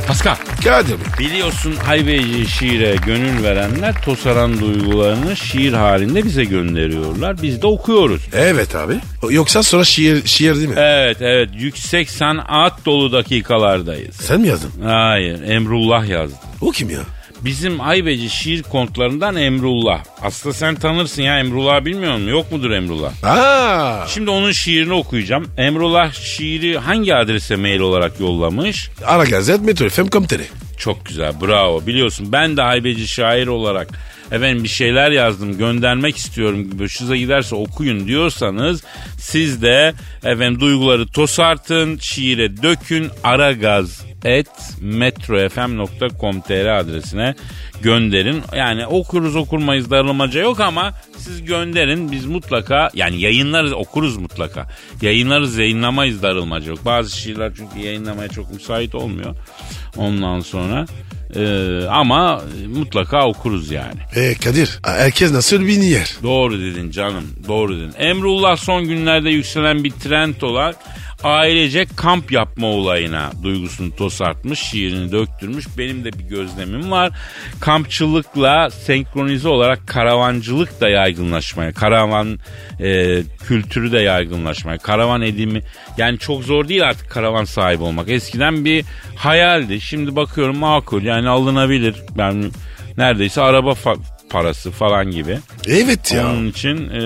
Pascal. Kadir Bey. Biliyorsun haybeci şiire gönül verenler tosaran duygularını şiir halinde bize gönderiyorlar. Biz de okuyoruz. Evet abi. Yoksa sonra şiir, şiir değil mi? Evet evet yüksek sanat dolu dakikalardayız. Sen mi yazdın? Hayır Emrullah yazdı. O kim ya? Bizim haybeci şiir kontlarından Emrullah. Aslında sen tanırsın ya Emrullah bilmiyor musun? Yok mudur Emrullah? Aa, Şimdi onun şiirini okuyacağım. Emrullah şiiri hangi adrese mail olarak yollamış? Ara Gazet Metro FM Komiteri. Çok güzel bravo biliyorsun ben de haybeci şair olarak efendim bir şeyler yazdım göndermek istiyorum hoşunuza giderse okuyun diyorsanız siz de efendim duyguları tosartın şiire dökün aragaz et metrofm.com.tr adresine gönderin. Yani okuruz okurmayız darılmaca yok ama siz gönderin biz mutlaka yani yayınlarız okuruz mutlaka. Yayınlarız yayınlamayız darılmaca yok. Bazı şiirler çünkü yayınlamaya çok müsait olmuyor ondan sonra. Ee, ama mutlaka okuruz yani. E Kadir herkes nasıl bir yer? Doğru dedin canım doğru dedin. Emrullah son günlerde yükselen bir trend olan ailecek kamp yapma olayına duygusunu tosartmış, şiirini döktürmüş. Benim de bir gözlemim var. Kampçılıkla senkronize olarak karavancılık da yaygınlaşmaya, karavan e, kültürü de yaygınlaşmaya, karavan edimi yani çok zor değil artık karavan sahibi olmak. Eskiden bir hayaldi. Şimdi bakıyorum makul yani alınabilir. Yani neredeyse araba fa- parası falan gibi. Evet ya. Onun için e,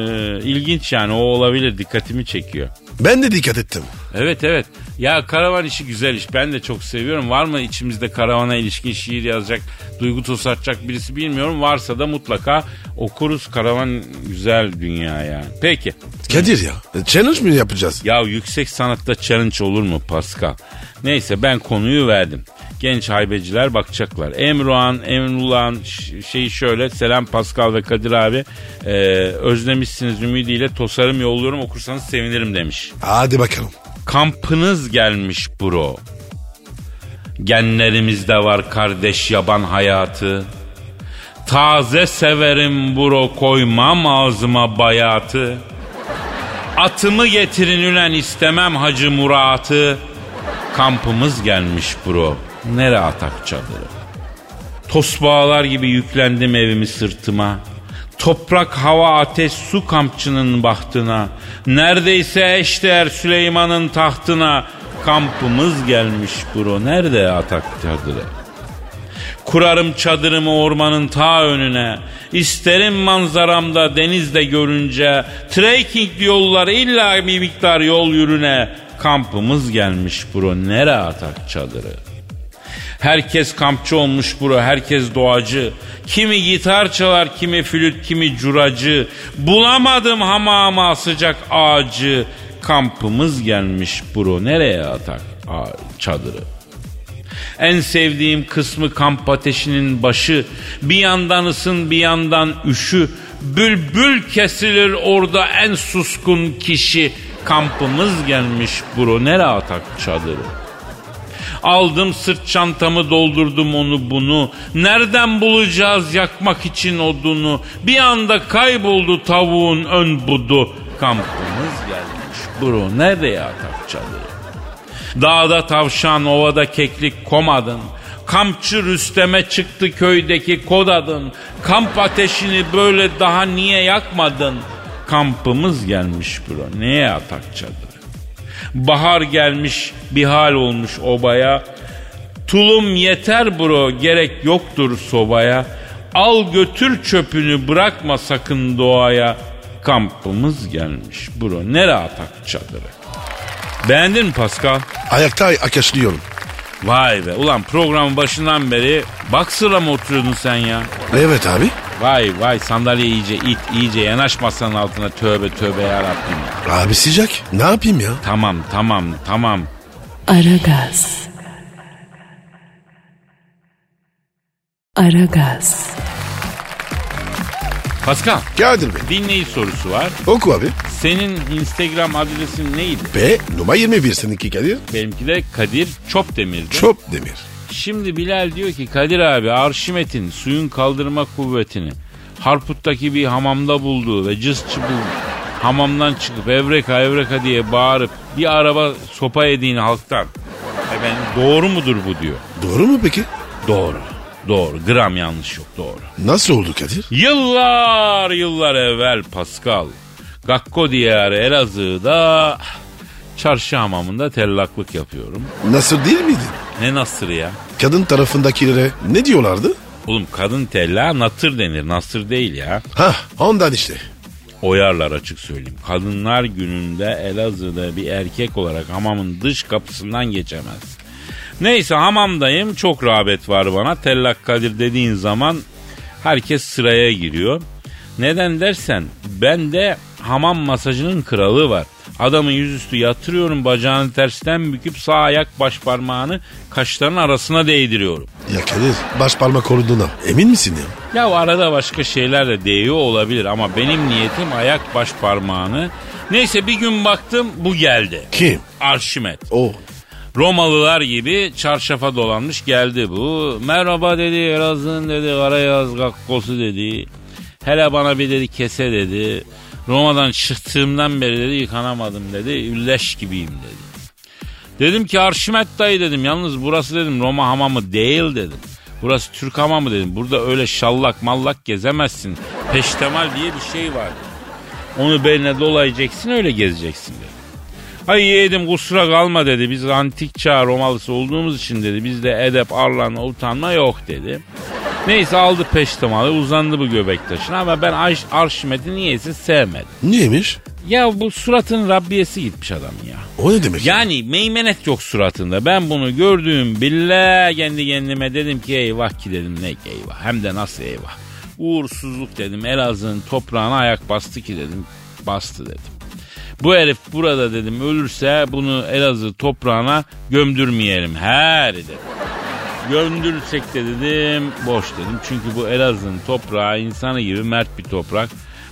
ilginç yani o olabilir dikkatimi çekiyor. Ben de dikkat ettim. Evet evet. Ya karavan işi güzel iş. Ben de çok seviyorum. Var mı içimizde karavana ilişkin şiir yazacak, duygu tosartacak birisi bilmiyorum. Varsa da mutlaka okuruz. Karavan güzel dünya yani. Peki. Kadir ya. Challenge mi yapacağız? Ya yüksek sanatta challenge olur mu Pascal? Neyse ben konuyu verdim. Genç haybeciler bakacaklar. Emruhan, Emrulan ş- şeyi şöyle. Selam Pascal ve Kadir abi. Ee, özlemişsiniz ümidiyle tosarım yolluyorum okursanız sevinirim demiş. Hadi bakalım. Kampınız gelmiş bro. Genlerimizde var kardeş yaban hayatı. Taze severim bro koymam ağzıma bayatı. Atımı getirin ülen istemem hacı muratı. Kampımız gelmiş bro. Nere atak çadırı? Tosbağalar gibi yüklendim evimi sırtıma. Toprak, hava, ateş, su kampçının bahtına. Neredeyse eşdeğer Süleyman'ın tahtına. Kampımız gelmiş bro. Nerede atak çadırı? Kurarım çadırımı ormanın ta önüne. İsterim manzaramda denizde görünce. Trekking yolları illa bir miktar yol yürüne. Kampımız gelmiş bro. Nere atak çadırı? Herkes kampçı olmuş bro, herkes doğacı. Kimi gitar çalar, kimi flüt, kimi curacı. Bulamadım hamama sıcak ağacı. Kampımız gelmiş bro, nereye atak a- çadırı? En sevdiğim kısmı kamp ateşinin başı. Bir yandan ısın bir yandan üşü. Bülbül kesilir orada en suskun kişi. Kampımız gelmiş bro, nereye atak çadırı? Aldım sırt çantamı doldurdum onu bunu. Nereden bulacağız yakmak için odunu? Bir anda kayboldu tavuğun ön budu. Kampımız gelmiş bro nereye atak çadırı? Dağda tavşan ovada keklik komadın. Kampçı Rüstem'e çıktı köydeki kodadın. Kamp ateşini böyle daha niye yakmadın? Kampımız gelmiş bro. Neye atak çadırı? Bahar gelmiş bir hal olmuş obaya. Tulum yeter bro gerek yoktur sobaya. Al götür çöpünü bırakma sakın doğaya. Kampımız gelmiş bro. Nere atak çadırı? Beğendin mi Pascal? Ayakta akaşlıyorum. Vay be ulan programın başından beri baksıra mı oturuyordun sen ya? Evet abi. Vay vay sandalye iyice it iyice yanaş masanın altına tövbe tövbe yarabbim. ya. Abi sıcak. Ne yapayım ya? Tamam tamam tamam Aragaz. Aragaz. Pascal Kadir Bey. dinleyici sorusu var. Oku abi. Senin Instagram adresin neydi? B numara 21 seninki Kadir. Benimki de Kadir Çopdemir'di. Çöp demir. Şimdi Bilal diyor ki Kadir abi Arşimet'in suyun kaldırma kuvvetini Harput'taki bir hamamda bulduğu ve cız çıbıl hamamdan çıkıp evreka evreka diye bağırıp bir araba sopa yediğini halktan. Efendim doğru mudur bu diyor. Doğru mu peki? Doğru. Doğru. Gram yanlış yok. Doğru. Nasıl oldu Kadir? Yıllar yıllar evvel Pascal. Gakko diyarı Elazığ'da çarşı hamamında tellaklık yapıyorum. Nasıl değil miydi? Ne nasır ya? Kadın tarafındakilere ne diyorlardı? Oğlum kadın tella natır denir. Nasır değil ya. Ha ondan işte. Oyarlar açık söyleyeyim. Kadınlar gününde Elazığ'da bir erkek olarak hamamın dış kapısından geçemez. Neyse hamamdayım. Çok rağbet var bana. Tellak Kadir dediğin zaman herkes sıraya giriyor. Neden dersen ben de hamam masajının kralı var. Adamın yüzüstü yatırıyorum bacağını tersten büküp sağ ayak baş parmağını kaşların arasına değdiriyorum. Ya Kadir baş parmak olduğuna emin misin ya? Ya arada başka şeyler de değiyor olabilir ama benim niyetim ayak baş parmağını. Neyse bir gün baktım bu geldi. Kim? Arşimet. O. Romalılar gibi çarşafa dolanmış geldi bu. Merhaba dedi Elazığ'ın dedi Karayaz Gakkosu dedi. Hele bana bir dedi kese dedi. Roma'dan çıktığımdan beri dedi yıkanamadım dedi. Ülleş gibiyim dedi. Dedim ki Arşimet dayı dedim. Yalnız burası dedim Roma hamamı değil dedim. Burası Türk hamamı dedim. Burada öyle şallak mallak gezemezsin. Peştemal diye bir şey var. dedim. Onu beline dolayacaksın öyle gezeceksin dedi. Ay yeğenim kusura kalma dedi. Biz antik çağ Romalısı olduğumuz için dedi. Bizde edep, arlanma, utanma yok dedi. Neyse aldı peştemalı uzandı bu göbek taşına ama ben Arş- Arşimet'i niyeyse sevmedim. Niyeymiş? Ya bu suratın Rabbiyesi gitmiş adamın ya. O ne demek? Yani meymenet yok suratında. Ben bunu gördüğüm bile kendi kendime dedim ki eyvah ki dedim ne ki eyvah. Hem de nasıl eyvah. Uğursuzluk dedim Elazığ'ın toprağına ayak bastı ki dedim. Bastı dedim. Bu herif burada dedim ölürse bunu Elazığ toprağına gömdürmeyelim. Her dedim. Gömdürsek de dedim boş dedim. Çünkü bu Elazığ'ın toprağı insanı gibi mert bir toprak.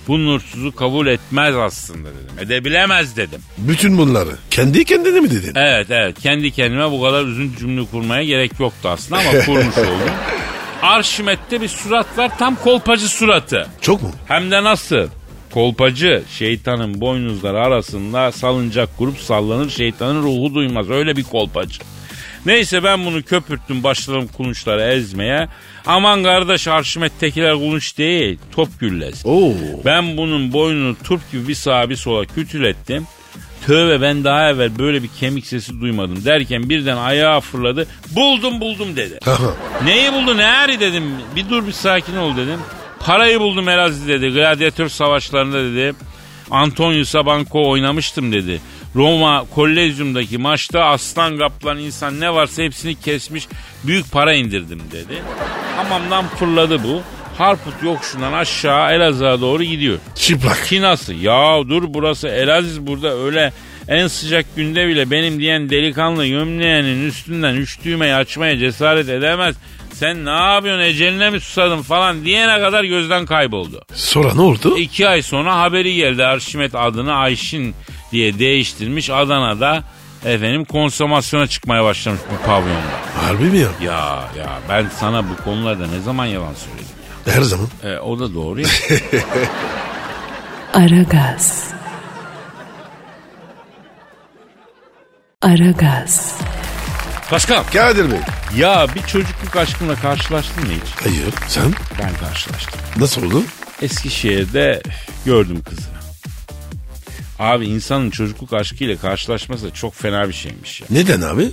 Bu nursuzu kabul etmez aslında dedim. Edebilemez dedim. Bütün bunları. Kendi kendine mi dedin? Evet evet kendi kendime bu kadar üzün cümle kurmaya gerek yoktu aslında ama kurmuş oldum. Arşimet'te bir surat var tam kolpacı suratı. Çok mu? Hem de nasıl? Kolpacı şeytanın boynuzları arasında salıncak grup sallanır şeytanın ruhu duymaz öyle bir kolpacı. Neyse ben bunu köpürttüm başladım kulunçları ezmeye. Aman kardeş Arşimet'tekiler kulunç değil top güllesi. Oo. Ben bunun boynunu turp gibi bir sağa bir sola kütülettim. Tövbe ben daha evvel böyle bir kemik sesi duymadım derken birden ayağa fırladı. Buldum buldum dedi. Neyi buldun Eri dedim. Bir dur bir sakin ol dedim. Parayı buldum Elazığ dedi. Gladyatör savaşlarında dedi. Antonius Sabanko oynamıştım dedi. Roma Kollezyum'daki maçta aslan kaplan insan ne varsa hepsini kesmiş büyük para indirdim dedi. Hamamdan fırladı bu. Harput yokuşundan aşağı Elazığ'a doğru gidiyor. Çıplak. Ki nasıl? Ya dur burası Elazığ burada öyle en sıcak günde bile benim diyen delikanlı gömleğinin üstünden üç düğmeyi açmaya cesaret edemez. Sen ne yapıyorsun eceline mi susadın falan diyene kadar gözden kayboldu. Sonra ne oldu? İki ay sonra haberi geldi Arşimet adını Ayşin diye değiştirmiş Adana'da efendim konsomasyona çıkmaya başlamış bu pavyonda. Harbi mi ya? Ya ya ben sana bu konularda ne zaman yalan söyledim? Her zaman. E, o da doğru ya. Aragaz. Aragaz. Paskal Kadir Bey. ya bir çocukluk aşkımla karşılaştın mı hiç? Hayır. Sen? Ben karşılaştım. Nasıl oldu? Eskişehir'de gördüm kızı. Abi insanın çocukluk aşkıyla karşılaşması da çok fena bir şeymiş ya. Neden abi?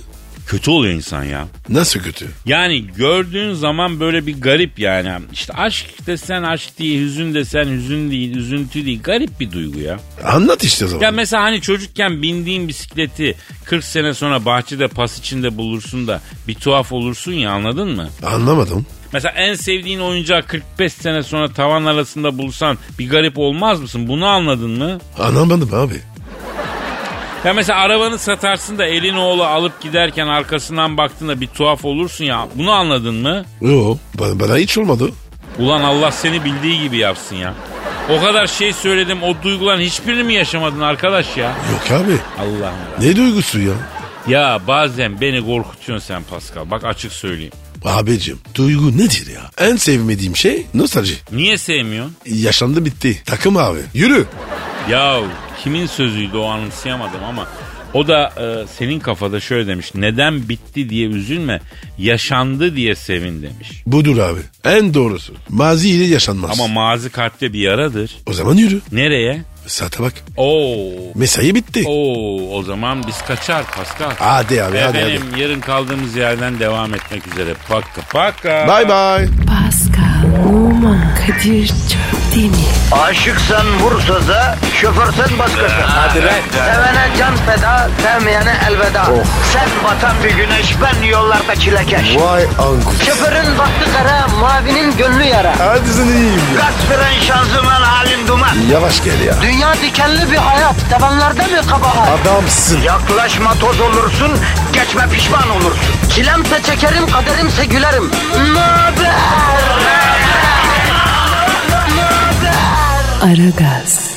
Kötü oluyor insan ya. Nasıl kötü? Yani gördüğün zaman böyle bir garip yani. İşte aşk desen aşk değil, hüzün desen hüzün değil, üzüntü değil. Garip bir duygu ya. Anlat işte o zaman. Ya mesela hani çocukken bindiğin bisikleti 40 sene sonra bahçede pas içinde bulursun da bir tuhaf olursun ya anladın mı? Anlamadım. Mesela en sevdiğin oyuncağı 45 sene sonra tavan arasında bulsan bir garip olmaz mısın? Bunu anladın mı? Anlamadım abi. Ya mesela arabanı satarsın da elin oğlu alıp giderken arkasından baktığında bir tuhaf olursun ya. Bunu anladın mı? Yo bana, bana hiç olmadı. Ulan Allah seni bildiği gibi yapsın ya. O kadar şey söyledim o duyguların hiçbirini mi yaşamadın arkadaş ya? Yok abi. Allah'ım. Ne duygusu ya? Ya bazen beni korkutuyorsun sen Pascal. Bak açık söyleyeyim. Abicim duygu nedir ya? En sevmediğim şey nostalji. Niye sevmiyorsun? Yaşandı bitti. Takım abi. Yürü. Ya kimin sözüydü o anımsayamadım ama o da e, senin kafada şöyle demiş. Neden bitti diye üzülme, yaşandı diye sevin demiş. Budur abi. En doğrusu. Mazi ile yaşanmaz. Ama mazi kalpte bir yaradır. O zaman yürü. Nereye? Saate bak. Oo. Mesai bitti. Oh. Oo, o zaman biz kaçar Pascal. Hadi abi hadi Efendim yarın kaldığımız yerden devam etmek üzere. Paka paka. hadi. Bye bye. Pascal, Oman, Kadir çok değil mi? Aşıksan vursa da, şoförsen başkasın. Hadi Sevene can feda, sevmeyene elveda. Sen batan bir güneş, ben yollarda çilekeş. Vay anku. Şoförün baktı kara, mavinin gönlü yara. Hadi sen iyiyim ya. Kasperen şanzıman halin duman. Yavaş gel ya. Dünya dikenli bir hayat, sevenlerde mi kabahar? Adamsın. Yaklaşma toz olursun, geçme pişman olursun. Çilemse çekerim, kaderimse gülerim. Möber! Aragaz.